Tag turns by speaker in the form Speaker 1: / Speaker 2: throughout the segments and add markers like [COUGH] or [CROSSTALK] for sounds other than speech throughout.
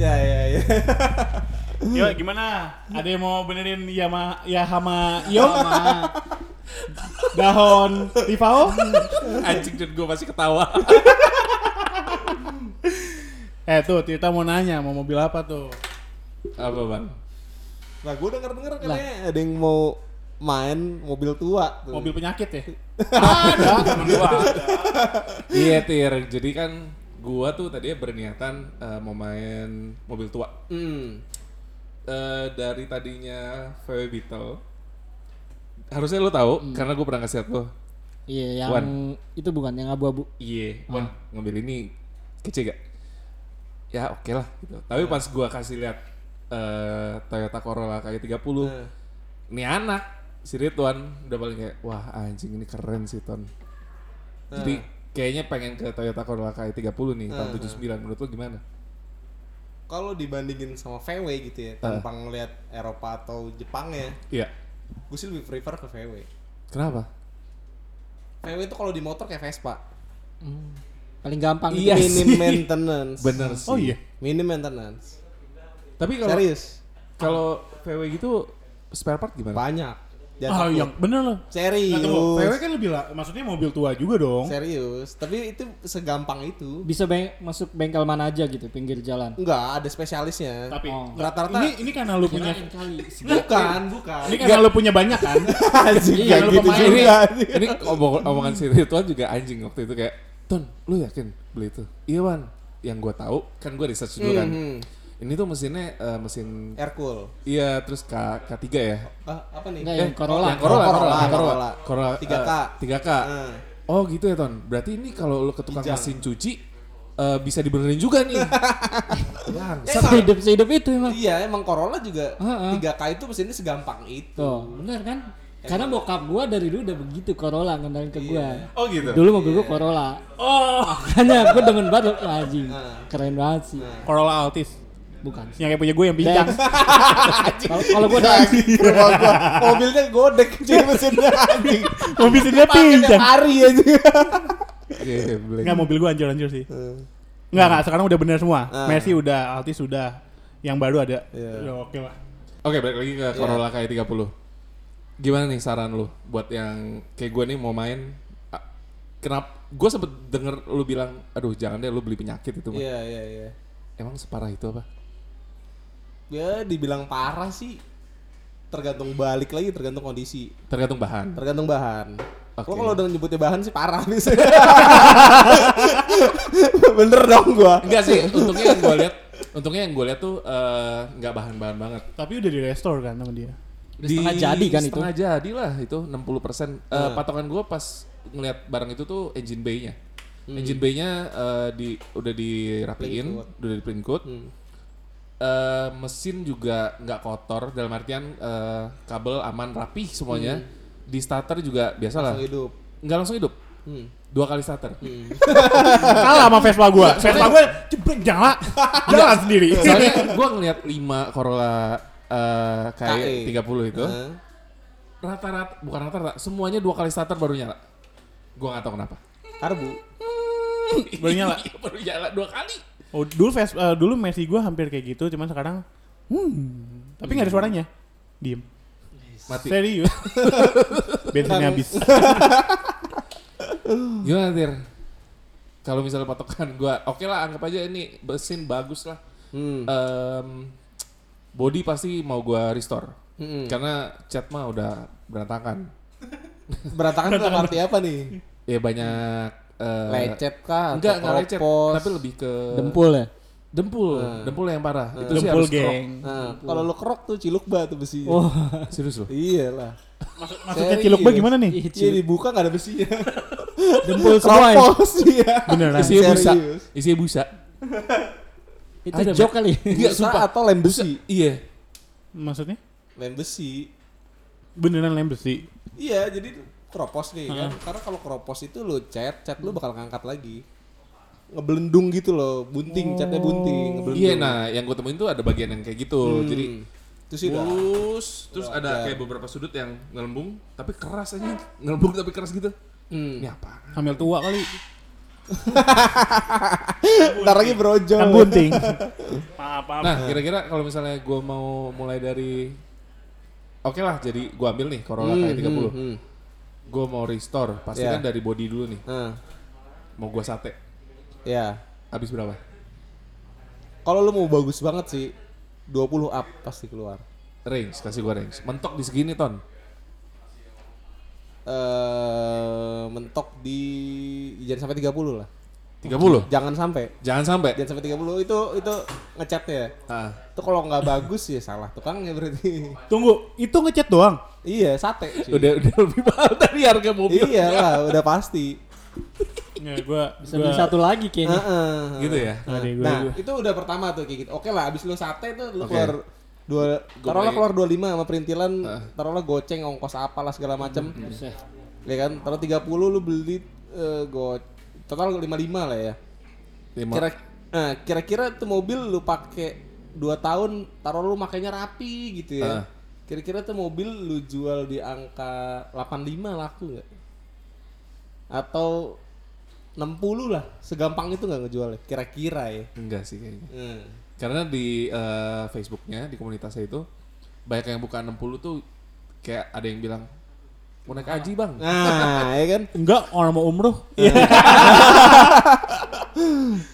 Speaker 1: Ya,
Speaker 2: Yo gimana? Ada yang mau benerin Yama Yahama Yo? [LAUGHS] Dahon Tifao?
Speaker 3: Anjing dan gue masih ketawa.
Speaker 2: Eh tuh Tita mau nanya mau mobil apa tuh?
Speaker 3: Apa bang?
Speaker 1: [LAUGHS] Nah, gue denger denger katanya ada yang mau main mobil tua. Tuh.
Speaker 2: Mobil penyakit ya?
Speaker 3: Temen gua ada. Iya Tir, jadi kan gua tuh tadinya berniatan eh, mau main mobil tua.
Speaker 1: Hmm.
Speaker 3: Eh, dari tadinya VW Beetle, harusnya lo tahu karena gue pernah ngasih liat lo.
Speaker 4: Iya, yang
Speaker 3: Wan.
Speaker 4: itu bukan yang abu-abu.
Speaker 3: Iya, Wan, ngambil ini kecil gak? Ya oke lah gitu. Tapi pas gua kasih lihat eh, Toyota Corolla K30, ini anak si Ridwan udah paling kayak wah anjing ini keren sih Ton. Jadi kayaknya pengen ke Toyota Corolla K30 nih tahun 79 menurut lo gimana?
Speaker 1: Kalau dibandingin sama VW gitu ya,
Speaker 2: Ah.
Speaker 1: tanpa ngeliat Eropa atau Jepang ya,
Speaker 3: Iya.
Speaker 1: gue sih lebih prefer ke VW.
Speaker 3: Kenapa?
Speaker 1: VW itu kalau di motor kayak Vespa.
Speaker 4: Paling gampang
Speaker 3: Iya
Speaker 4: itu.
Speaker 1: Minim
Speaker 3: sih.
Speaker 1: maintenance.
Speaker 3: Bener sih.
Speaker 2: Oh iya.
Speaker 1: Minim maintenance.
Speaker 3: Tapi kalau
Speaker 1: Serius.
Speaker 3: kalau VW gitu spare part gimana?
Speaker 1: Banyak.
Speaker 2: Ah
Speaker 1: Jangan takut.
Speaker 2: iya bener loh. Nah, tunggu, VW
Speaker 1: Serius.
Speaker 2: kan lebih lah, maksudnya mobil tua juga dong.
Speaker 1: Serius. Tapi itu segampang itu.
Speaker 4: Bisa beng- masuk bengkel mana aja gitu pinggir jalan.
Speaker 1: Enggak, ada spesialisnya.
Speaker 2: Tapi
Speaker 4: Oh.
Speaker 1: Rata-rata-
Speaker 2: ini ini karena lu punya Nah,
Speaker 4: Kirain kali. [LAUGHS]
Speaker 1: Bukan, bukan.
Speaker 2: ini karena lu punya banyak kan?
Speaker 1: [LAUGHS] Anjing,
Speaker 2: Iya,
Speaker 1: gak
Speaker 2: lu
Speaker 1: gitu
Speaker 2: pemain.
Speaker 1: juga.
Speaker 3: Ini omong- omongan si Ridwan juga anjing waktu itu kayak, Ton, lu yakin beli itu? Iya, Wan. Yang gue tahu kan gue research dulu kan.
Speaker 1: Mhm.
Speaker 3: Ini tuh mesinnya eh, mesin
Speaker 1: Hercule.
Speaker 3: iya terus K K3 ya.
Speaker 1: Ah, apa nih?
Speaker 4: Enggak, yang Corolla.
Speaker 3: Eh, yang Oh, Corolla,
Speaker 1: Corolla,
Speaker 3: Corolla, Corolla,
Speaker 1: Corolla.
Speaker 3: Corolla,
Speaker 1: 3K.
Speaker 3: eh, 3K.
Speaker 1: Ah.
Speaker 3: Oh gitu ya Ton. Berarti ini kalau lu ke tukang
Speaker 1: Kijang.
Speaker 3: mesin cuci eh, bisa dibenerin juga [LAUGHS] nih. Bangsat.
Speaker 4: Sehidup sehidup itu emang.
Speaker 1: Eh, Iya, emang Corolla juga
Speaker 4: Ah, ah.
Speaker 1: 3K itu mesinnya segampang itu.
Speaker 4: Tuh, bener kan? Karena bokap gua dari dulu udah begitu Corolla ngendalin ke gua.
Speaker 3: oh gitu.
Speaker 4: Dulu mobil gua Corolla. Oh, makanya gua demen banget loh, anjing. Keren banget sih.
Speaker 2: Corolla Altis.
Speaker 4: Bukan.
Speaker 2: Yang kayak punya gue yang pincang.
Speaker 4: Kalau kalau gua udah
Speaker 1: Anjing, rumah gua. Mobilnya godek jadi mesinnya anjing.
Speaker 2: mobil
Speaker 1: Pakai
Speaker 2: dia
Speaker 1: tiap
Speaker 2: pincang.
Speaker 1: hari aja.
Speaker 2: Enggak mobil gue anjir-anjir sih. Enggak enggak sekarang udah bener semua. Messi udah, Altis udah. Yang baru ada. Ya, Oke lah.
Speaker 3: Oke, balik lagi ke Corolla K30. Gimana nih saran lu buat yang kayak gue nih mau main? ah, Kenapa? Gue sempet denger lu bilang, aduh jangan deh lu beli penyakit itu. mah."
Speaker 1: Iya, iya, iya.
Speaker 3: Emang separah itu apa?
Speaker 1: Ya dibilang parah sih. Tergantung balik lagi, tergantung kondisi,
Speaker 3: Tergantung bahan.
Speaker 1: tergantung bahan.
Speaker 3: Oke.
Speaker 1: Lo kalau udah nyebutnya bahan sih parah bisa. [LAUGHS] Bener dong gua.
Speaker 3: Enggak sih, untungnya yang gue lihat, untungnya yang gue lihat tuh eh, nggak bahan-bahan banget.
Speaker 2: Tapi udah di restore kan sama dia.
Speaker 4: Udah setengah jadi kan itu? Eh.
Speaker 3: Setengah jadi lah itu 60 persen. Eh, Patokan gue pas ngelihat barang itu tuh engine bay-nya.
Speaker 4: Hmm.
Speaker 3: Engine bay-nya eh, di udah dirapiin,
Speaker 1: Plain coat.
Speaker 3: udah di plain coat.
Speaker 4: Hmm.
Speaker 3: Eh, mesin juga nggak kotor dalam artian eh, kabel aman rapih
Speaker 4: Hmm.
Speaker 3: semuanya. Di starter juga biasa lah.
Speaker 1: Langsung hidup.
Speaker 3: Nggak langsung hidup.
Speaker 4: Hmm.
Speaker 3: Dua kali starter.
Speaker 2: Kalah sama Vespa gue. Vespa gue jebreng jala. Jalan sendiri.
Speaker 3: [LAUGHS] Iya. Soalnya gue ngelihat 5 Corolla eh
Speaker 4: E.
Speaker 1: KE.
Speaker 3: kayak 30 itu.
Speaker 4: Eh.
Speaker 1: Hah?
Speaker 3: rata-rata bukan rata-rata semuanya dua kali starter baru nyala gua nggak tahu kenapa
Speaker 1: Karbu.
Speaker 2: Baru nyala?
Speaker 3: Iya, baru nyala dua kali
Speaker 2: [LAUGHS] Oh, dulu Vespa eh, dulu Messi gue hampir kayak gitu, cuman sekarang hmm, tapi nggak ada suaranya. Diem.
Speaker 3: mati
Speaker 2: Serius. Bensinnya habis.
Speaker 3: gimana Tir kalau misalnya patokan gua oke lah anggap aja ini mesin bagus lah
Speaker 1: Hmm.
Speaker 3: Em, body pasti mau gua restore
Speaker 1: Mm-mm.
Speaker 3: karena cat mah udah berantakan
Speaker 1: Berantakan dalam arti apa nih?
Speaker 3: ya banyak eh,
Speaker 1: Lecet kah? Atau
Speaker 3: enggak enggak lecet
Speaker 1: keropos?
Speaker 3: tapi lebih ke
Speaker 4: dempul ya.
Speaker 3: dempul dempul yang parah itu sih
Speaker 2: Dempul
Speaker 3: harus
Speaker 2: geng.
Speaker 3: Hmm.
Speaker 1: Nah, kalau lu kerok tuh ciluk banget tuh besinya.
Speaker 4: Oh,
Speaker 3: kerok. [LAUGHS] serius loh
Speaker 1: Iyalah.
Speaker 2: Maksudnya ciluk gue gimana nih?
Speaker 1: Iya dibuka gak ada besinya. [LAUGHS]
Speaker 4: dempul semua. ya.
Speaker 1: Keropos
Speaker 3: [LAUGHS]
Speaker 1: iya.
Speaker 2: Beneran.
Speaker 3: isinya busa
Speaker 1: Serius.
Speaker 3: isinya busa
Speaker 4: Itu
Speaker 3: Ada,
Speaker 4: jok kali.
Speaker 3: Iya,
Speaker 1: Busa
Speaker 3: sumpah.
Speaker 1: atau lem besi?
Speaker 3: iya
Speaker 2: Maksudnya?
Speaker 1: Lem besi.
Speaker 2: Beneran lem besi.
Speaker 1: Iya, jadi keropos nih kan.
Speaker 3: Hmm.
Speaker 1: Karena kalau keropos itu lu cat, cat lu bakal ngangkat lagi. Ngebelendung gitu loh, bunting, catnya bunting, ngebelendung. Hmm.
Speaker 3: Iya, nah yang gue temuin tuh ada bagian yang kayak gitu. Jadi
Speaker 1: Itu sih udah.
Speaker 3: bulus, terus ada kayak beberapa sudut yang ngelembung, tapi keras aja. Ngelembung tapi keras gitu. Ini apa?
Speaker 2: Hamil tua kali.
Speaker 1: Ntar lagi brojo.
Speaker 2: Kan bunting. maaf, maaf.
Speaker 3: Nah, kira-kira kalau misalnya gue mau mulai dari Oke lah, jadi gue ambil nih Corolla
Speaker 1: Hmm,
Speaker 3: kayak 30
Speaker 1: hmm, hmm.
Speaker 3: Gue mau restore, pasti
Speaker 1: Iya.
Speaker 3: kan dari body dulu nih
Speaker 1: Nah,
Speaker 3: Mau gue sate,
Speaker 1: ya.
Speaker 3: habis berapa?
Speaker 1: Kalau lu mau bagus banget sih 20 up pasti keluar.
Speaker 3: Range, kasih gue range Mentok di segini ton
Speaker 1: eh mentok di jangan sampai 30 lah.
Speaker 3: 30?
Speaker 1: Jangan sampai.
Speaker 3: Jangan sampai
Speaker 1: Jangan sampai 30 itu itu ngecatnya.
Speaker 3: Ah.
Speaker 1: Itu kalau nggak bagus ya salah tukangnya berarti. [LAUGHS]
Speaker 2: Tunggu, itu ngechat doang.
Speaker 1: iya, sate. cuy.
Speaker 3: Udah, udah lebih mahal dari harga mobil
Speaker 1: iya lah, udah pasti.
Speaker 2: Ya,
Speaker 3: Iya,
Speaker 2: gua
Speaker 4: Bisa beli satu lagi kayaknya.
Speaker 1: Heeh.
Speaker 3: Gitu ya
Speaker 2: Nah, deh, gua,
Speaker 1: Nah,
Speaker 2: gua.
Speaker 1: itu udah pertama tuh kayak gitu. Oke lah, abis lu sate tuh lu
Speaker 3: Oke.
Speaker 1: keluar dua taruhlah
Speaker 3: beli-
Speaker 1: keluar 25 sama perintilan, taruhlah goceng ongkos apalah segala macem
Speaker 3: Hmm.
Speaker 4: Buset.
Speaker 1: Ya kan? Taruh 30 lu beli eh, go total 55 lah ya.
Speaker 3: Lima-
Speaker 1: Kira nah, kira-kira tuh mobil lu pakai 2 tahun, taruh lu makainya rapi gitu ya.
Speaker 3: Ah.
Speaker 1: Kira-kira tuh mobil lu jual di angka 85 laku nggak? Atau 60 lah, segampang itu nggak ngejualnya? Kira-kira ya.
Speaker 3: Enggak sih kayaknya
Speaker 1: Hmm.
Speaker 3: Karena di eh, Facebooknya, di komunitasnya itu Banyak yang buka 60 tuh Kayak ada yang bilang Mau naik haji bang
Speaker 1: Nah, [LAUGHS] ya kan?
Speaker 2: Enggak, orang mau umroh. Iya.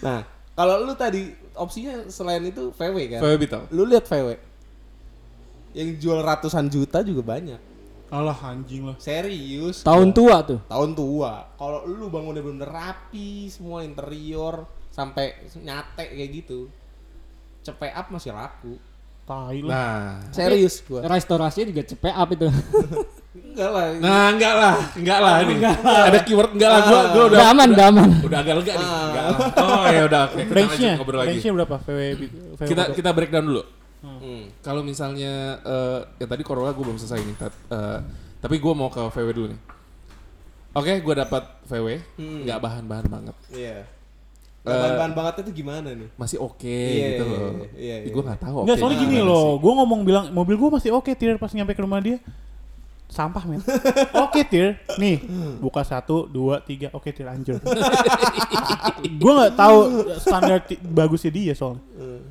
Speaker 1: Nah, kalau lu tadi opsinya selain itu VW kan?
Speaker 3: VW Beetle
Speaker 1: Lu lihat VW. Yang jual ratusan juta juga banyak.
Speaker 2: Alah anjing lah.
Speaker 1: Serius.
Speaker 4: Tahun tua tuh.
Speaker 1: tahun tua. Kalau lu bangunnya bener-bener rapi, semua interior sampai nyate kayak gitu. Cepet up masih laku.
Speaker 2: Tai lah.
Speaker 3: Nah
Speaker 1: Serius gua.
Speaker 4: Restorasinya juga cepet up itu.
Speaker 1: Enggak lah.
Speaker 3: Nah, enggak lah, enggak lah ini. Ada keyword enggak lah gua gua udah
Speaker 4: Udah aman, udah aman.
Speaker 3: udah agak lega nih. Enggak lah. Oh, ya udah oke. Kita lanjut
Speaker 2: Range-nya,
Speaker 3: ngobrol lagi.
Speaker 2: range-nya berapa? VW, VW
Speaker 3: Kita kita breakdown dulu.
Speaker 1: Hmm.
Speaker 3: Kalau misalnya eh ya tadi Corolla gua belum selesai nih. Tat- eh, tapi gua mau ke VW dulu nih. Oke, gua dapat VW, enggak bahan-bahan banget.
Speaker 1: Iya. Nah, Bahan-bahan bangetnya tuh gimana nih?
Speaker 3: Masih oke
Speaker 1: Iya,
Speaker 3: gitu
Speaker 1: iya,
Speaker 3: loh.
Speaker 1: iya, iya.
Speaker 3: Gua enggak tahu Oh, oke. Nah,
Speaker 2: Enggak, soalnya gini
Speaker 3: gimana sih.
Speaker 2: loh. Gue ngomong bilang mobil gue masih oke tir pas nyampe ke rumah dia. Sampah
Speaker 3: [LAUGHS]
Speaker 2: men. oke tir. Nih, buka satu, dua, tiga. Oke tir anjir. [LAUGHS] gue nggak tahu standar ti- bagusnya dia soalnya.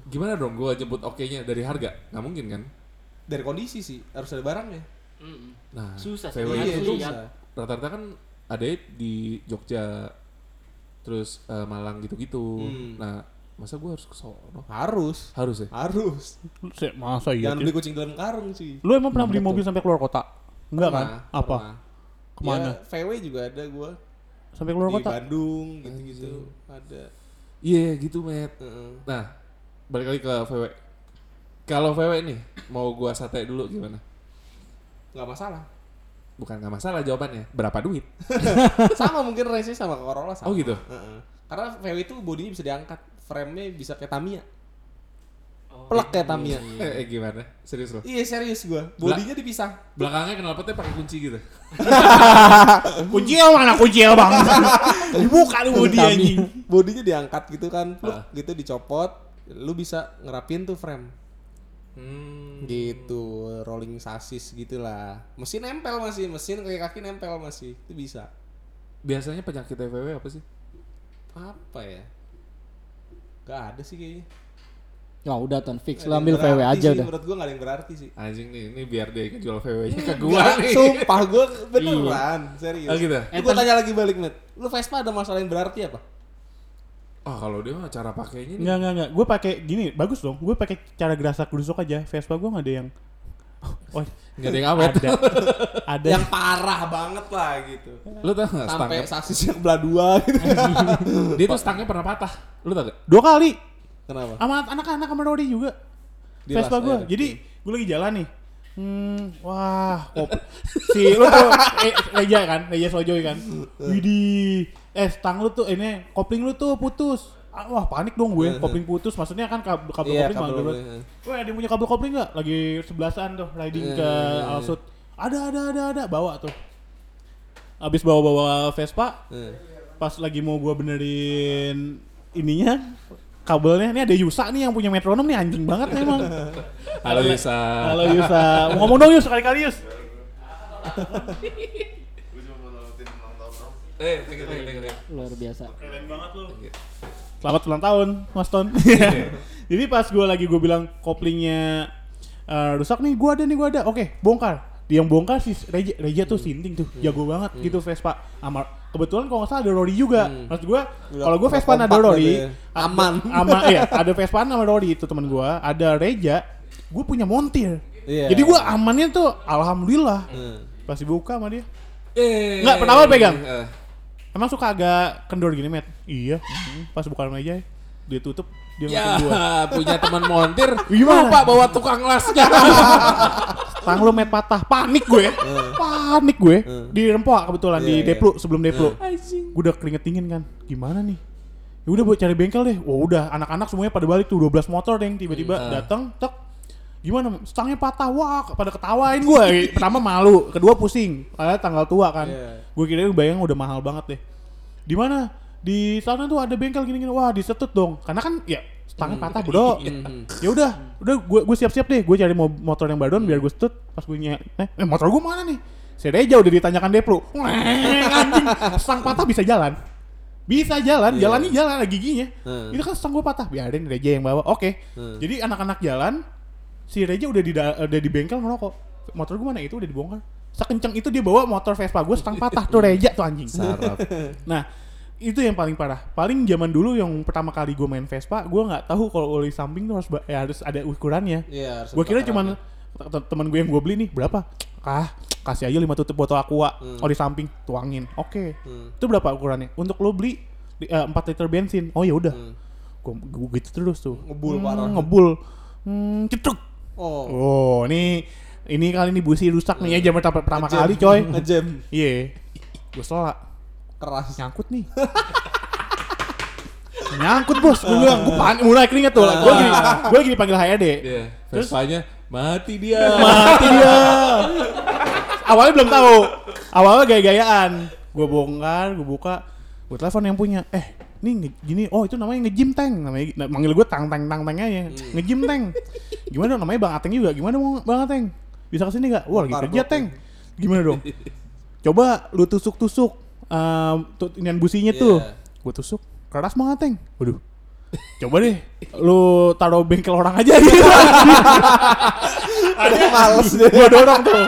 Speaker 3: Gimana dong gua jemput oke-nya dari harga? Enggak mungkin kan?
Speaker 1: Dari kondisi sih, harus ada barangnya.
Speaker 3: Nah,
Speaker 4: Susah sih.
Speaker 3: VW
Speaker 4: Iya,
Speaker 3: itu
Speaker 4: susah.
Speaker 3: rata-rata kan ada di Jogja terus eh, Malang gitu-gitu.
Speaker 1: Hmm.
Speaker 3: Nah, masa gue harus ke sono?
Speaker 1: Harus.
Speaker 3: Harus ya?
Speaker 1: Harus.
Speaker 2: Lu se- Masa iya
Speaker 1: Jangan
Speaker 2: Tir?
Speaker 1: beli kucing dalam karung sih.
Speaker 2: Lu emang pernah beli mobil sampai keluar kota? Enggak kan?
Speaker 1: Pernah,
Speaker 2: Apa?
Speaker 1: pernah.
Speaker 2: Kemana?
Speaker 1: Ya, VW juga ada gua.
Speaker 2: Sampai keluar
Speaker 1: Di
Speaker 2: kota?
Speaker 1: Bandung gitu-gitu. Ada.
Speaker 3: Iya, gitu, Met.
Speaker 1: Heeh.
Speaker 3: Nah, balik lagi ke VW. Kalau VW nih, mau gua sate dulu gimana?
Speaker 1: Nggak masalah. [LAUGHS]
Speaker 3: Bukan nggak masalah jawabannya. Berapa duit?
Speaker 1: sama mungkin race sama Corolla sama.
Speaker 3: Oh gitu.
Speaker 1: Heeh. Karena VW itu bodinya bisa diangkat, frame-nya bisa kayak Tamiya. Plek Oh, kayak Tamiya.
Speaker 3: [LAUGHS] Eh, eh, gimana? Serius loh.
Speaker 1: Iya serius gua, bodinya dipisah.
Speaker 3: Belakangnya knalpotnya pakai kunci gitu.
Speaker 2: Kucil mana kucil [LAUGHS] bang? Dibuka dulu dia
Speaker 4: Kami.
Speaker 2: anjing.
Speaker 1: Bodinya diangkat gitu kan, pluk
Speaker 3: Ah.
Speaker 1: gitu dicopot, lu bisa ngerapin tuh frame.
Speaker 3: Hmm.
Speaker 1: Gitu, rolling sasis gitulah. Mesin nempel masih, mesin kayak kaki nempel masih. Itu bisa.
Speaker 3: Biasanya penyakit VW apa sih?
Speaker 1: Apa ya? Gak ada sih kayaknya.
Speaker 4: Ya udah ton
Speaker 1: Nggak
Speaker 4: fix lo
Speaker 1: ada
Speaker 4: ambil
Speaker 1: yang
Speaker 4: VW
Speaker 1: berarti
Speaker 4: aja
Speaker 1: sih,
Speaker 4: udah.
Speaker 1: Menurut gua gak ada yang berarti sih.
Speaker 3: Anjing nih, ini biar dia yang jual VW-nya ke gua
Speaker 1: Gua
Speaker 3: nih.
Speaker 1: sumpah gua beneran,
Speaker 2: Iya.
Speaker 1: serius.
Speaker 3: Oh, gitu?
Speaker 1: Ini gua tanya lagi balik, Met. Lu Vespa ada masalah yang berarti apa?
Speaker 3: Ah, kalau dia mah cara pakainya nih.
Speaker 2: Enggak enggak enggak. Gue pakai gini, bagus dong. Gue pakai cara gerasak gerusuk aja. Vespa gue nggak ada yang. Oh,
Speaker 3: Nggak ada yang awet.
Speaker 2: ada. [LAUGHS] ada.
Speaker 1: Yang parah banget lah gitu.
Speaker 3: Lu tau
Speaker 1: Sampai
Speaker 3: gak
Speaker 2: kan?
Speaker 3: stangnya?
Speaker 1: sasis yang belah dua gitu.
Speaker 3: Dia tuh stangnya pernah patah. Lu tau gak?
Speaker 2: dua kali
Speaker 1: Kenapa?
Speaker 2: sama anak-anak sama Rory juga
Speaker 1: Di
Speaker 2: Vespa
Speaker 1: last
Speaker 2: gue
Speaker 1: air.
Speaker 2: jadi gue lagi jalan nih hmm, wah
Speaker 1: [LAUGHS]
Speaker 2: kopi si lu tuh eh, Reja kan Reja Sojoy kan Widih eh stang lu tuh ini kopling lu tuh putus Ah, wah panik dong
Speaker 1: [LAUGHS]
Speaker 2: gue kopling putus maksudnya kan kabel kabel
Speaker 1: Iya,
Speaker 2: kopling
Speaker 1: kabel
Speaker 2: kabel
Speaker 1: kopling, iya.
Speaker 2: Wah, ada yang punya kabel kopling nggak? Lagi sebelasan tuh riding ke
Speaker 1: iya,
Speaker 2: Alsut. Ada, ada, ada, ada. Bawa tuh. Abis bawa-bawa Vespa,
Speaker 1: Hmm.
Speaker 2: pas lagi mau gua benerin ininya kabelnya ini ada Yusa nih yang punya metronom nih anjing banget emang
Speaker 3: Halo Yusa.
Speaker 2: halo Yusa mau ngomong dong Yus kali-kali Yus
Speaker 5: Gue cuma mau nolaktin ulang tahun dong.
Speaker 3: Eh, thank you, thank you, thank you, thank you.
Speaker 4: luar biasa
Speaker 2: Keren banget lu.
Speaker 3: Thank you.
Speaker 2: Selamat ulang tahun, Mas Ton.
Speaker 1: Iya.
Speaker 2: [LAUGHS] Jadi pas gue lagi gue bilang koplingnya eh, rusak nih, gue ada nih gue ada. Oke, bongkar. Dia yang bongkar si Reja, Reja tuh
Speaker 1: Hmm.
Speaker 2: sinting tuh, jago banget gitu Vespa. Amar. Kebetulan kalau nggak salah ada Rory juga. Maksud gue,
Speaker 1: Hmm. Udah-
Speaker 2: kalau gue
Speaker 1: udah
Speaker 2: Vespa ada
Speaker 1: kompak
Speaker 2: Rory,
Speaker 1: gitu ya.
Speaker 2: ada-
Speaker 1: Aman.
Speaker 2: ama,
Speaker 1: [LAUGHS]
Speaker 2: iya, ada Vespa sama Rory itu teman gue. Ada Reja, gue punya montir.
Speaker 1: Iya.
Speaker 2: Jadi gue amannya tuh, alhamdulillah.
Speaker 1: Hmm.
Speaker 2: Pas dibuka sama dia,
Speaker 3: Eh,
Speaker 2: Nggak, pertama pegang.
Speaker 3: eh,
Speaker 2: Emang suka agak kendor gini, Matt? Iya. Pas buka meja, dia tutup, dia
Speaker 3: Ya,
Speaker 2: ngeliatin gua.
Speaker 3: punya teman montir.
Speaker 2: Gimana?
Speaker 3: Lupa bawa tukang [LAUGHS] lasnya.
Speaker 2: Tang lu Matt patah. Panik gue. Panik gue. Di Rempoa kebetulan, di
Speaker 1: Iya, iya.
Speaker 2: Deplu, sebelum Deplu.
Speaker 3: Anjing.
Speaker 2: Gue udah keringet dingin kan. Gimana nih? Ya udah buat cari bengkel deh. Wah udah, anak-anak semuanya pada balik tuh 12 motor deng tiba-tiba datang, tek. Gimana? Stangnya patah. Wah, pada ketawain gue. Pertama malu, kedua pusing. Karena tanggal tua kan.
Speaker 1: Iya.
Speaker 2: Gue kira bayang udah mahal banget deh. Di mana? Di sana tuh ada bengkel gini-gini. Wah, disetut dong. Karena kan ya stangnya patah, Bro. ya udah, udah gue gue siap-siap deh. Gue cari mo- motor yang badan biar gue setut. Pas gue nyek, eh, eh, motor gue mana nih? Si Reja udah ditanyakan Deplu. Weng, anjing. Stang patah bisa jalan. Bisa jalan, jalannya jalan ada giginya.
Speaker 1: Hmm.
Speaker 2: Itu kan stang gue patah, biarin Reja yang bawa. Oke. Jadi anak-anak jalan, si Reja udah di da- udah di bengkel ngerokok. Motor gue mana itu udah dibongkar. Sekenceng itu dia bawa motor Vespa gue stang patah tuh Reja tuh anjing.
Speaker 3: Sarap.
Speaker 2: [LAUGHS] Nah, itu yang paling parah. Paling zaman dulu yang pertama kali gue main Vespa, gue nggak tahu kalau oli samping tuh harus ba- ya harus ada ukurannya.
Speaker 1: Iya, harus
Speaker 2: Gue kira
Speaker 1: ada
Speaker 2: cuman te- teman gue yang gue beli nih berapa? Ah, kasih aja 5 tutup botol aqua
Speaker 1: Hmm.
Speaker 2: oli samping tuangin. Oke. Itu berapa ukurannya? Untuk lo beli di- eh, 4 liter bensin. Oh ya udah. Gue gitu terus tuh.
Speaker 1: Ngebul
Speaker 2: Hmm,
Speaker 1: parah.
Speaker 2: Ngebul. Hmm, cetruk.
Speaker 1: Oh.
Speaker 2: Oh, ini ini kali ini busi rusak nih ya zaman pertama- pertama
Speaker 1: Ngejam.
Speaker 2: kali coy.
Speaker 1: Ngejam
Speaker 2: Iya. Gue selak
Speaker 1: keras.
Speaker 2: [LAUGHS] nyangkut nih nyangkut bos gue bilang gue pan mulai keringet tuh gue gini gue gini panggil HRD
Speaker 3: Iya. Vespanya mati dia.
Speaker 2: mati dia awalnya belum tahu awalnya gaya-gayaan gue bongkar gue buka gue telepon yang punya eh ini nge- gini oh itu namanya ngejim tank namanya nah, manggil gue tang tang tang tang aja ngejim tank gimana dong, namanya bang ateng juga gimana mau bang ateng bisa kesini nggak wah lagi
Speaker 1: Bongkar,
Speaker 2: kerja
Speaker 1: bongkar.
Speaker 2: tank gimana dong coba lu tusuk tusuk tuh inian businya tuh
Speaker 1: Iya.
Speaker 2: gue tusuk keras banget teng waduh coba deh lu taruh bengkel orang aja [LAUGHS] gitu
Speaker 1: Ada males deh.
Speaker 2: gue dorong tuh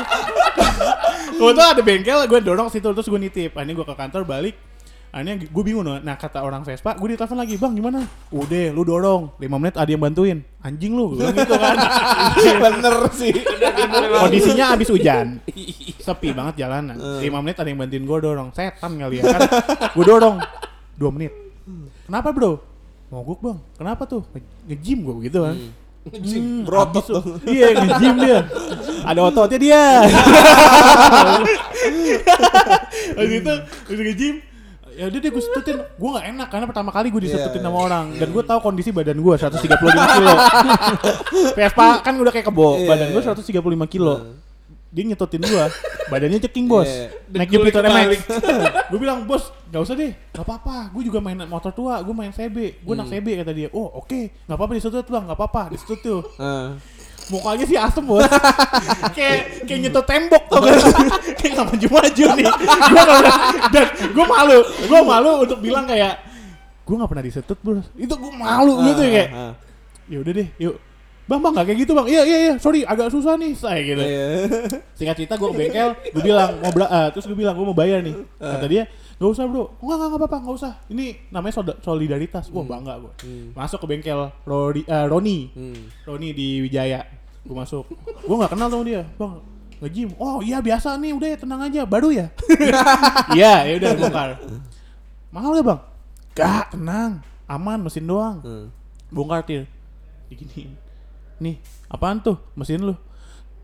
Speaker 2: kebetulan ada bengkel gue dorong situ terus gue nitip akhirnya gue ke kantor balik akhirnya gue bingung dong. nah kata orang Vespa gue ditelepon lagi bang gimana udah lu dorong 5 menit ada yang bantuin anjing lu Gua bilang gitu kan
Speaker 1: [LAUGHS] Bener sih.
Speaker 2: kondisinya abis
Speaker 1: [LAUGHS]
Speaker 2: hujan sepi banget jalanan
Speaker 1: Hmm.
Speaker 2: 5 menit ada yang bantuin gue dorong setan kali ya kan gue dorong 2 menit kenapa bro mogok bang kenapa tuh Nge- nge-gym gue gitu kan Hmm,
Speaker 1: Berotot
Speaker 2: abis- Iya, nge-gym dia. Ada ototnya
Speaker 1: [LAUGHS]
Speaker 2: dia. Habis itu, habis nge-gym, ya udah deh gue setutin. Gue gak enak karena pertama kali gue disetutin
Speaker 1: Iya,
Speaker 2: sama orang. Dan gue tahu kondisi badan gue 135
Speaker 1: [LAUGHS]
Speaker 2: kilo. Vespa kan udah kayak kebo,
Speaker 1: Iya,
Speaker 2: badan gue
Speaker 1: iya.
Speaker 2: 135 kilo. Dia nyetutin gue, badannya ceking
Speaker 1: Nah.
Speaker 2: bos.
Speaker 1: Iya.
Speaker 2: Naik
Speaker 3: Dengkulnya
Speaker 2: Jupiter MX. [LAUGHS]
Speaker 3: kebalik.
Speaker 2: gue bilang, bos gak usah deh, gak apa-apa. Gue juga main motor tua, gue main CB. Gue
Speaker 1: Hmm.
Speaker 2: nak CB kata dia. Oh oke, gak apa-apa disetut bang, gak apa-apa disetut tuh
Speaker 1: Heeh.
Speaker 2: mukanya sih asem bos [LAUGHS] kayak kayak nyentuh tembok tuh kan kayak nggak [LAUGHS] maju maju nih gue dan gue malu gue malu untuk bilang kayak gue nggak pernah disetut bos itu gue malu gitu ya kayak
Speaker 1: Ah, ah.
Speaker 2: ya udah deh yuk bang bang nggak kayak gitu bang iya iya iya sorry agak susah nih saya gitu
Speaker 1: Iya.
Speaker 2: [LAUGHS] singkat cerita gue ke bengkel gue bilang mau bela- eh, terus gue bilang gue mau bayar nih kata dia nggak usah bro nggak nggak nggak apa-apa nggak usah ini namanya soda- solidaritas wah bangga gue
Speaker 1: Hmm,
Speaker 2: masuk ke bengkel Rodi, eh, Roni Roni di Wijaya gue masuk gue nggak kenal sama dia bang nge-gym oh iya biasa nih udah ya tenang aja baru ya iya ya udah bongkar mahal ya bang gak tenang aman mesin doang
Speaker 1: Hmm.
Speaker 2: bongkar til diginiin nih apaan tuh mesin lu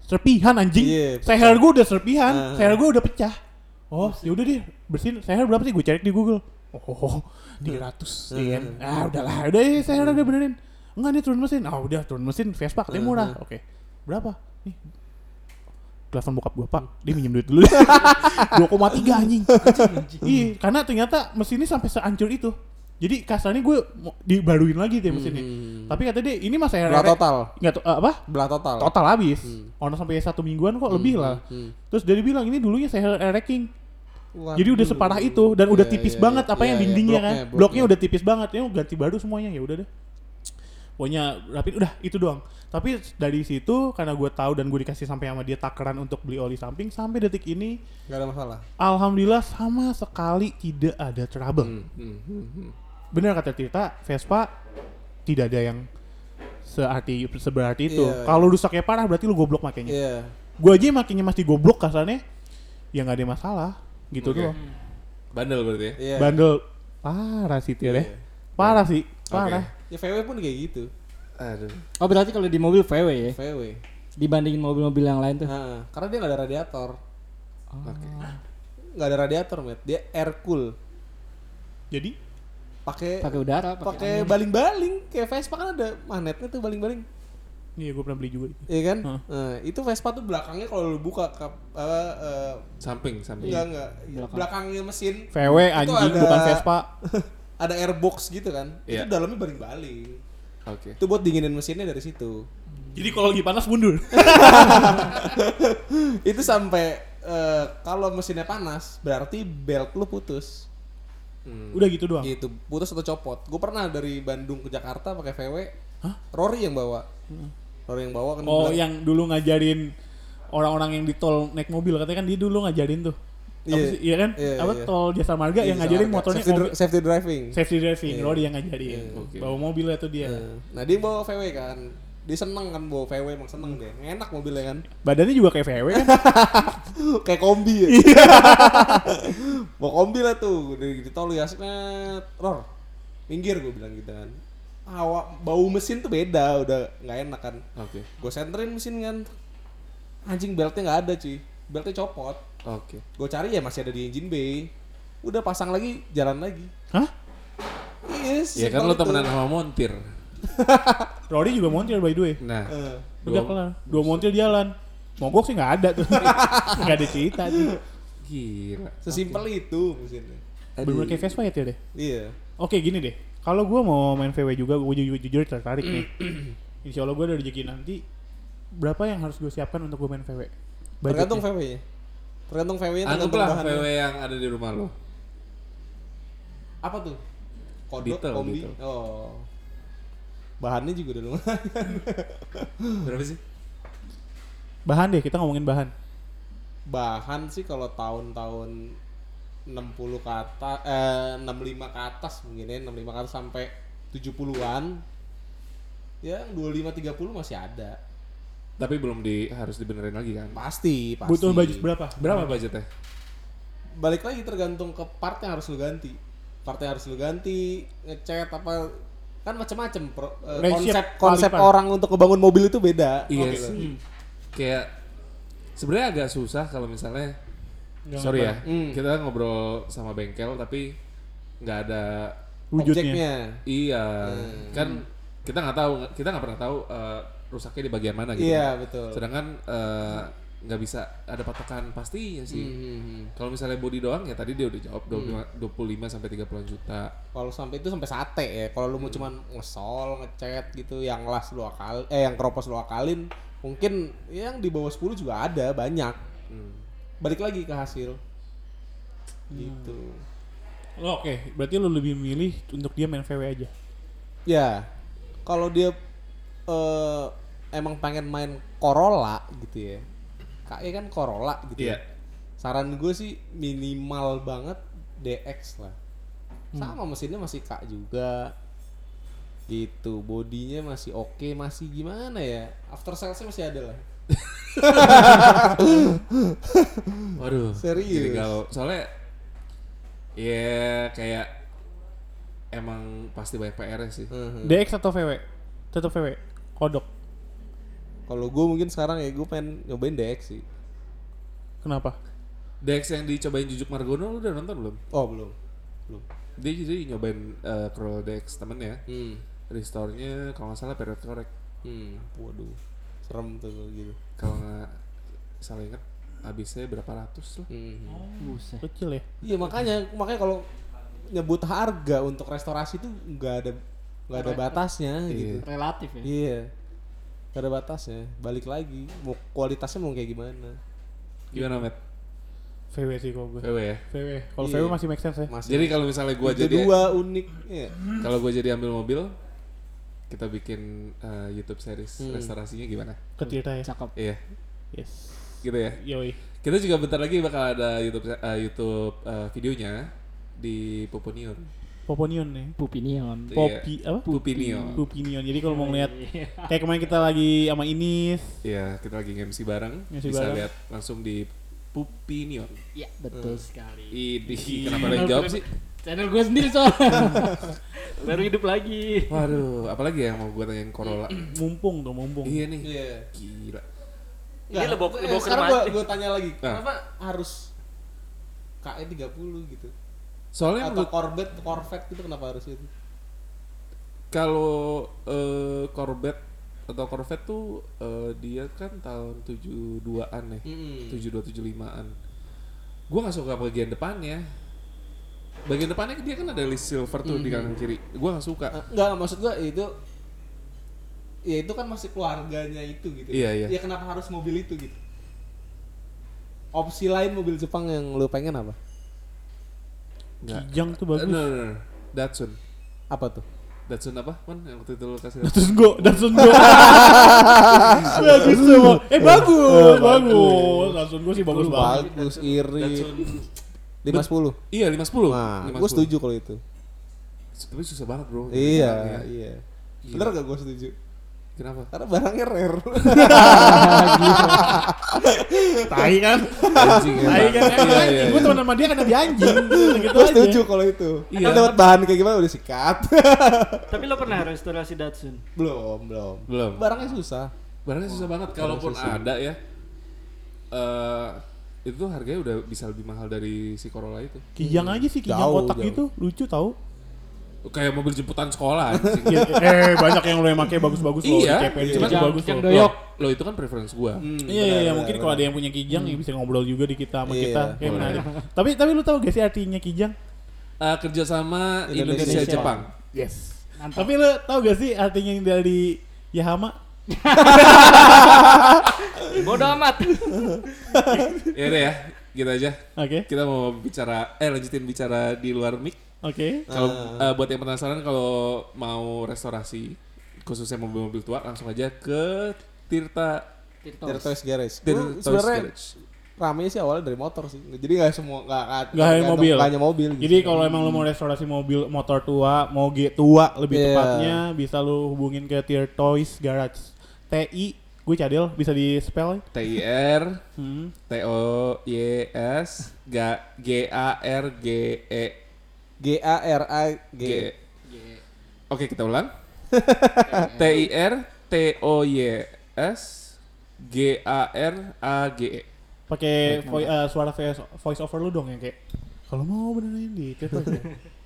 Speaker 2: serpihan anjing
Speaker 1: Iya,
Speaker 2: seher gue udah serpihan
Speaker 1: Ah.
Speaker 2: seher gue udah pecah oh yaudah deh bersihin seher berapa sih gue cari di google
Speaker 1: Ah.
Speaker 2: oh 300 iya ah udahlah udah ya seher udah benerin enggak nih turun mesin ah udah turun mesin Vespa
Speaker 1: Ah,
Speaker 2: katanya murah oke berapa nih telepon bokap gue pak dia minjem
Speaker 1: [LAUGHS]
Speaker 2: duit dulu 2,3 anjing iya karena ternyata mesinnya sampai sehancur itu jadi kasarnya gue mau dibaruin lagi deh mesinnya tapi kata dia ini masa
Speaker 1: Belah Hmm. total.
Speaker 2: nggak tau apa
Speaker 1: Belah total. Hmm.
Speaker 2: total habis ono sampai satu mingguan kok lebih lah terus dia bilang ini dulunya saya racking
Speaker 1: Waduh.
Speaker 2: Jadi udah separah itu dan udah
Speaker 1: Iya,
Speaker 2: tipis
Speaker 1: iya,
Speaker 2: banget
Speaker 1: iya.
Speaker 2: apa
Speaker 1: Iya,
Speaker 2: yang
Speaker 1: iya,
Speaker 2: dindingnya kan.
Speaker 1: bloknya,
Speaker 2: Bloknya,
Speaker 1: bloknya.
Speaker 2: udah tipis banget. Ya ganti baru semuanya ya udah deh. Pokoknya rapid udah itu doang. Tapi dari situ karena gue tahu dan gue dikasih sampai sama dia takaran untuk beli oli samping sampai detik ini
Speaker 1: Gak ada masalah.
Speaker 2: alhamdulillah sama sekali tidak ada trouble.
Speaker 1: Hmm.
Speaker 2: Bener kata cerita Vespa tidak ada yang searti seberarti itu.
Speaker 1: Iya, iya.
Speaker 2: Kalau rusaknya parah berarti lu goblok makanya
Speaker 1: Iya.
Speaker 2: gua aja makinnya masih goblok kasarnya ya nggak ada masalah gitu
Speaker 3: Oke.
Speaker 2: loh
Speaker 3: Bandel berarti ya?
Speaker 1: Iya.
Speaker 2: bandel parah sih Tir ya parah sih parah
Speaker 1: Ya VW pun kayak gitu.
Speaker 3: Aduh.
Speaker 4: Oh berarti kalau di mobil VW
Speaker 2: Eh.
Speaker 4: ya
Speaker 1: VW.
Speaker 4: dibandingin mobil-mobil yang lain tuh.
Speaker 1: Nah, karena dia gak ada radiator.
Speaker 3: Oke.
Speaker 1: Gak ada radiator, Matt. Dia air cool.
Speaker 2: jadi
Speaker 1: Pakai
Speaker 4: Pakai
Speaker 1: Eh,
Speaker 4: udara,
Speaker 1: pakai
Speaker 4: pakai angin.
Speaker 1: baling-baling kayak Vespa kan ada magnetnya tuh baling-baling.
Speaker 2: iya gua pernah beli juga itu
Speaker 1: Iya kan?
Speaker 2: Hah.
Speaker 1: Nah, itu Vespa tuh belakangnya kalau lu buka kap, apa, eh,
Speaker 3: Samping, samping.
Speaker 1: enggak enggak
Speaker 4: Belakang.
Speaker 1: belakangnya mesin
Speaker 2: VW anjing
Speaker 1: ada-
Speaker 2: bukan Vespa
Speaker 1: [LAUGHS] ada airbox gitu kan.
Speaker 3: Iya.
Speaker 1: Itu dalamnya baling-baling.
Speaker 3: Oke.
Speaker 1: Itu buat dinginin mesinnya dari situ.
Speaker 2: jadi kalau lagi panas mundur
Speaker 1: itu sampai eh, kalau mesinnya panas berarti belt lu putus.
Speaker 2: [LAUGHS] udah gitu doang
Speaker 1: Gitu, putus atau copot. Gue pernah dari Bandung ke Jakarta pakai VW. Rory yang bawa. Rory yang bawa kan dia
Speaker 2: Hmm. oh
Speaker 1: bilang,
Speaker 2: yang dulu ngajarin orang-orang yang di tol naik mobil katanya kan dia dulu ngajarin tuh Apa
Speaker 1: Iya.
Speaker 2: sih, iya kan
Speaker 1: Iya,
Speaker 2: apa
Speaker 1: iya.
Speaker 2: tol jasa marga
Speaker 1: "Ini
Speaker 2: yang ngajarin
Speaker 1: salah,
Speaker 2: motornya
Speaker 1: safety,
Speaker 2: mobil,
Speaker 1: dri- Iya. safety driving.
Speaker 2: safety iya. driving Rory yang ngajarin
Speaker 3: Oke.
Speaker 2: bawa mobilnya tuh dia
Speaker 1: Eh, Nah, dia bawa VW kan. Dia seneng kan bawa VW emang seneng deh. Enak mobilnya kan. [LAUGHS]
Speaker 2: badannya juga kayak VW kan
Speaker 1: Kayak kombi ya.
Speaker 2: Iya.
Speaker 1: [LAUGHS] Bawa kombi lah tuh dari di tol ya. "Smet, Ror, minggir gue bilang gitu kan. Hawa bau mesin tuh beda, udah nggak enak kan.
Speaker 3: Oke.
Speaker 1: gue senterin mesin kan anjing beltnya nggak ada cuy beltnya copot
Speaker 3: Oke.
Speaker 1: gue cari ya masih ada di engine bay udah pasang lagi jalan lagi Iya,
Speaker 2: hah
Speaker 1: yes
Speaker 3: Ya kan lo temenan sama montir.
Speaker 2: Rory juga montir by the way
Speaker 3: Nah.
Speaker 1: Eh,
Speaker 2: Udah
Speaker 3: gua-
Speaker 2: kelar. Dua montir jalan. Mogok sih nggak ada tuh. [LAUGHS] nggak ada cerita tuh.
Speaker 3: Gila.
Speaker 1: sesimpel itu mesinnya
Speaker 2: Bener kayak Vespa ya Til deh.
Speaker 1: iya
Speaker 2: Oke gini deh. Kalau gua mau main VW juga, gue jujur, jujur tertarik
Speaker 1: [CLEARS THROAT]
Speaker 2: nih. Insya Allah gue ada rezeki nanti. Berapa yang harus gue siapkan untuk gue main VW?
Speaker 1: tergantung VW
Speaker 2: Budgetnya.
Speaker 1: nya tergantung VW nya tergantung
Speaker 3: ya? Anggaplah
Speaker 1: bahannya.
Speaker 3: VW yang ada di rumah lo.
Speaker 1: apa tuh kodok
Speaker 3: Beetle,
Speaker 1: kombi
Speaker 3: Beetle.
Speaker 1: oh bahannya juga udah lumayan
Speaker 3: Berapa sih?
Speaker 2: Bahan deh, kita ngomongin bahan.
Speaker 1: bahan sih kalau tahun-tahun 60 ke atas eh, 65 ke atas mungkin ya 65 ke atas sampai 70-an ya 25 30 masih ada
Speaker 3: Tapi belum di harus dibenerin lagi kan?
Speaker 1: pasti pasti
Speaker 2: Butuh baju berapa?
Speaker 3: Berapa budgetnya?
Speaker 1: balik lagi tergantung ke part yang harus lu ganti part yang harus lu ganti ngecat apa kan macam-macam pro- eh,
Speaker 2: Reshape
Speaker 1: konsep
Speaker 2: paling
Speaker 1: konsep
Speaker 2: parah.
Speaker 1: orang untuk ngebangun mobil itu beda
Speaker 3: Iya
Speaker 1: Oke.
Speaker 3: sih. Kayak sebenarnya agak susah kalau misalnya sorry ya,
Speaker 1: Hmm.
Speaker 3: kita ngobrol sama bengkel tapi nggak ada
Speaker 2: Wujudnya.
Speaker 1: objeknya
Speaker 3: iya
Speaker 1: Hmm.
Speaker 3: kan kita nggak tahu kita nggak pernah tahu eh, rusaknya di bagian mana gitu.
Speaker 1: iya betul
Speaker 3: Sedangkan eh, nggak bisa ada patokan pasti ya sih.
Speaker 1: Hmm, hmm.
Speaker 3: Kalau misalnya body doang ya tadi dia udah jawab 25 25 sampai 30 juta.
Speaker 1: kalau sampai itu sampai sate ya kalau lu mau cuman ngesol ngecat gitu yang las lu akal eh yang keropos lu akalin mungkin yang di bawah 10 juga ada banyak balik lagi ke hasil gitu
Speaker 2: Oh, Oke, berarti lu lebih milih untuk dia main VW aja.
Speaker 1: ya kalau dia eh, emang pengen main Corolla gitu ya kayak kan Corolla gitu ya
Speaker 3: Iya.
Speaker 1: saran gue sih minimal banget DX lah sama mesinnya masih kak juga gitu bodinya masih oke masih gimana ya after salesnya masih ada lah
Speaker 3: Waduh.
Speaker 1: Serius?
Speaker 3: Jadi kalau soalnya ya kayak emang pasti banyak PR -nya sih.
Speaker 1: Mhm.
Speaker 2: DX atau VW? Tetap VW. Kodok.
Speaker 1: kalau gue mungkin sekarang ya gue pengen nyobain DX sih
Speaker 2: Kenapa?
Speaker 3: Dex yang dicobain Jujuk Margono lu udah nonton belum?
Speaker 1: oh belum belum
Speaker 3: Dia jadi nyobain eh, Corolla Dex temennya.
Speaker 1: hmm
Speaker 3: Restore-nya kalau nggak salah period correct.
Speaker 1: hmm waduh serem tuh kalau gitu
Speaker 3: Kalau nggak salah ingat habisnya berapa ratus lah.
Speaker 1: Mhm.
Speaker 4: Buset.
Speaker 2: Kecil ya.
Speaker 1: Iya makanya makanya kalau nyebut harga untuk restorasi tuh nggak ada nggak
Speaker 3: ya?
Speaker 1: ada batasnya gitu.
Speaker 4: Relatif ya.
Speaker 1: Iya. Nggak ada batasnya. Balik lagi mau kualitasnya mau kayak gimana.
Speaker 3: Gimana, Matt?
Speaker 2: VW sih kalau gue.
Speaker 3: VW ya.
Speaker 2: VW. Kalau
Speaker 1: Iya.
Speaker 2: VW masih make sense ya.
Speaker 1: Masih.
Speaker 3: Eh, Jadi kalau misalnya gua
Speaker 1: Itu
Speaker 3: jadi
Speaker 1: dua unik. Iya.
Speaker 3: kalau gua jadi ambil mobil kita bikin eh, YouTube series
Speaker 1: Hmm.
Speaker 3: restorasinya gimana?
Speaker 2: Kecil ya.
Speaker 4: Cakep.
Speaker 3: Iya,
Speaker 2: Yes.
Speaker 3: gitu ya.
Speaker 2: Yoi.
Speaker 3: Kita juga bentar lagi bakal ada YouTube eh, YouTube eh, videonya di Poponion.
Speaker 2: Poponion nih.
Speaker 4: Pupinion.
Speaker 3: Iya.
Speaker 2: Popi apa?
Speaker 3: Pupinion.
Speaker 2: Pupinion. Jadi kalau mau ngeliat
Speaker 1: Iya.
Speaker 2: kayak kemarin kita lagi sama Inis.
Speaker 3: Iya, kita lagi MC bareng.
Speaker 2: MC
Speaker 3: bisa
Speaker 2: bareng.
Speaker 3: lihat langsung di Pupinion.
Speaker 4: Iya, betul sekali.
Speaker 3: Idih, kenapa lo yang jawab sih?
Speaker 4: Channel gue sendiri soalnya. [LAUGHS] Baru hidup [LAUGHS] lagi.
Speaker 3: Waduh, apalagi yang mau gua tanyain Corolla.
Speaker 2: Mumpung tuh, mumpung.
Speaker 3: iya nih.
Speaker 1: Iya.
Speaker 3: Gila.
Speaker 5: Ini
Speaker 1: Nggak,
Speaker 5: lebok-
Speaker 1: eh,
Speaker 5: lebok ke
Speaker 1: Sekarang
Speaker 5: rumah.
Speaker 1: gua, gua tanya lagi,
Speaker 3: Ah.
Speaker 1: kenapa harus KE 30 gitu?
Speaker 3: Soalnya
Speaker 1: Atau
Speaker 3: menurut-
Speaker 1: Corvette, Corvette gitu kenapa harus itu?
Speaker 3: kalau eh, Corvette atau Corvette tuh eh, dia kan tahun 72-an ya.
Speaker 1: Mm-mm.
Speaker 3: 72-75an. Gua nggak suka bagian depannya. Bagian depannya dia kan ada list silver tuh di kanan kiri. Gua nggak suka.
Speaker 1: Enggak, maksud gua itu ya itu kan masih keluarganya itu gitu.
Speaker 3: Iya, iya.
Speaker 1: Ya kenapa harus mobil itu gitu? Opsi lain mobil Jepang yang lu pengen apa?
Speaker 3: Nggak.
Speaker 2: Kijang tuh
Speaker 3: Eh,
Speaker 2: bagus.
Speaker 3: No, no, no. Datsun.
Speaker 1: Apa tuh?
Speaker 3: Datsun apa? Man, yang waktu itu lo kasih
Speaker 2: Datsun Go, Datsun Go. Bagus tuh. Bang. Eh bagus, bagus. Datsun Go sih bagus banget.
Speaker 1: Bagus, irit.
Speaker 3: Datsun.
Speaker 1: 510.
Speaker 3: Iya, 510.
Speaker 1: Nah,
Speaker 3: 510.
Speaker 1: gua setuju kalau itu.
Speaker 3: Tapi susah banget, Bro. ya.
Speaker 1: Iya, iya. Bener gak gue setuju?
Speaker 3: Kenapa?
Speaker 2: [LAUGHS]
Speaker 1: Karena barangnya
Speaker 3: [LAUGHS]
Speaker 1: rare.
Speaker 4: Ah, gitu.
Speaker 2: Tai kan?
Speaker 3: Anjing. emang.
Speaker 2: Tai kan?
Speaker 3: Iya, iya,
Speaker 2: Gue
Speaker 3: iya.
Speaker 2: teman sama dia kan dia anjing. Gitu
Speaker 1: gue
Speaker 2: aja.
Speaker 1: setuju kalau itu.
Speaker 3: Iya.
Speaker 1: Kan dapat bahan kayak gimana udah sikat. [LAUGHS]
Speaker 5: Tapi lo pernah restorasi Datsun?
Speaker 1: belum, belum.
Speaker 3: Belum.
Speaker 1: Barangnya susah.
Speaker 3: Barangnya susah banget kalaupun ada ya. Eh itu tuh harganya udah bisa lebih mahal dari si Corolla itu.
Speaker 2: Kijang aja sih, kijang
Speaker 1: Jauh,
Speaker 2: kotak
Speaker 1: jauh.
Speaker 2: gitu. Lucu tau.
Speaker 3: Kayak mobil jemputan sekolah
Speaker 1: [LAUGHS]
Speaker 3: anjing.
Speaker 2: Iya, eh banyak yang lo yang pakai bagus-bagus lo di
Speaker 3: Iya,
Speaker 2: CPNC
Speaker 3: cuman
Speaker 2: itu
Speaker 4: kijang-
Speaker 2: bagus
Speaker 4: kijang
Speaker 2: loh.
Speaker 4: doy- Doyok.
Speaker 3: Lo itu kan preference gua.
Speaker 1: Hmm.
Speaker 2: Iya, iya, iya, mungkin kalau ada yang punya kijang ya bisa ngobrol juga di kita sama
Speaker 1: Iya,
Speaker 2: kita. Kayak
Speaker 3: boleh.
Speaker 2: menarik. tapi tapi lu tahu gak sih artinya kijang?
Speaker 3: Eh kerjasama
Speaker 1: Indonesia-
Speaker 3: Indonesia Jepang.
Speaker 2: Yes. Tapi lu tahu gak sih artinya yang dari Yahama?
Speaker 5: Bodoh amat.
Speaker 3: Ya udah ya, gitu aja.
Speaker 2: Oke.
Speaker 3: Kita mau bicara eh lanjutin bicara di luar mic.
Speaker 2: Oke.
Speaker 3: Kalau
Speaker 1: Ah.
Speaker 3: eh, buat yang penasaran kalau mau restorasi khususnya mobil-mobil tua langsung aja ke Tirta
Speaker 1: Tirtois Garage.
Speaker 3: Tirta
Speaker 1: Gua
Speaker 3: Toys
Speaker 1: Sebenarnya
Speaker 3: Garage.
Speaker 1: ramenya sih awalnya dari motor sih. Jadi gak semua gak
Speaker 2: Nggak hanya mobil.
Speaker 1: Gak hanya mobil. gitu.
Speaker 2: Jadi kalau emang lu mau restorasi mobil motor tua, moge tua lebih
Speaker 1: Iya.
Speaker 2: tepatnya bisa lu hubungin ke Tier Toys Garage. TI gue cadel bisa ya. di spell.
Speaker 3: T I R
Speaker 2: Hmm.
Speaker 3: T O Y S G G A R G E
Speaker 1: G A R A G.
Speaker 3: G. Oke kita ulang. T I R T O Y S G A R A G E.
Speaker 2: Pakai voi- eh, suara voice, voice over lu dong ya kayak. Kalau mau benerin di Tier Toys. ya."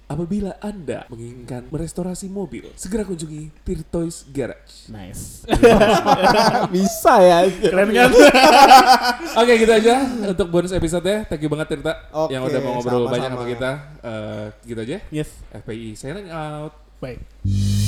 Speaker 3: Apabila Anda menginginkan merestorasi mobil, segera kunjungi Tirtois Garage.
Speaker 2: [LAUGHS] nice.
Speaker 1: [LAUGHS] Bisa ya.
Speaker 2: Keren kan?
Speaker 3: Oke, gitu aja untuk bonus episode ya. Thank you banget Tirta
Speaker 1: Oke,
Speaker 3: yang udah mau ngobrol
Speaker 1: sama-sama.
Speaker 3: banyak sama kita. Eh, gitu aja.
Speaker 2: yes.
Speaker 3: FPI signing out.
Speaker 2: Baik.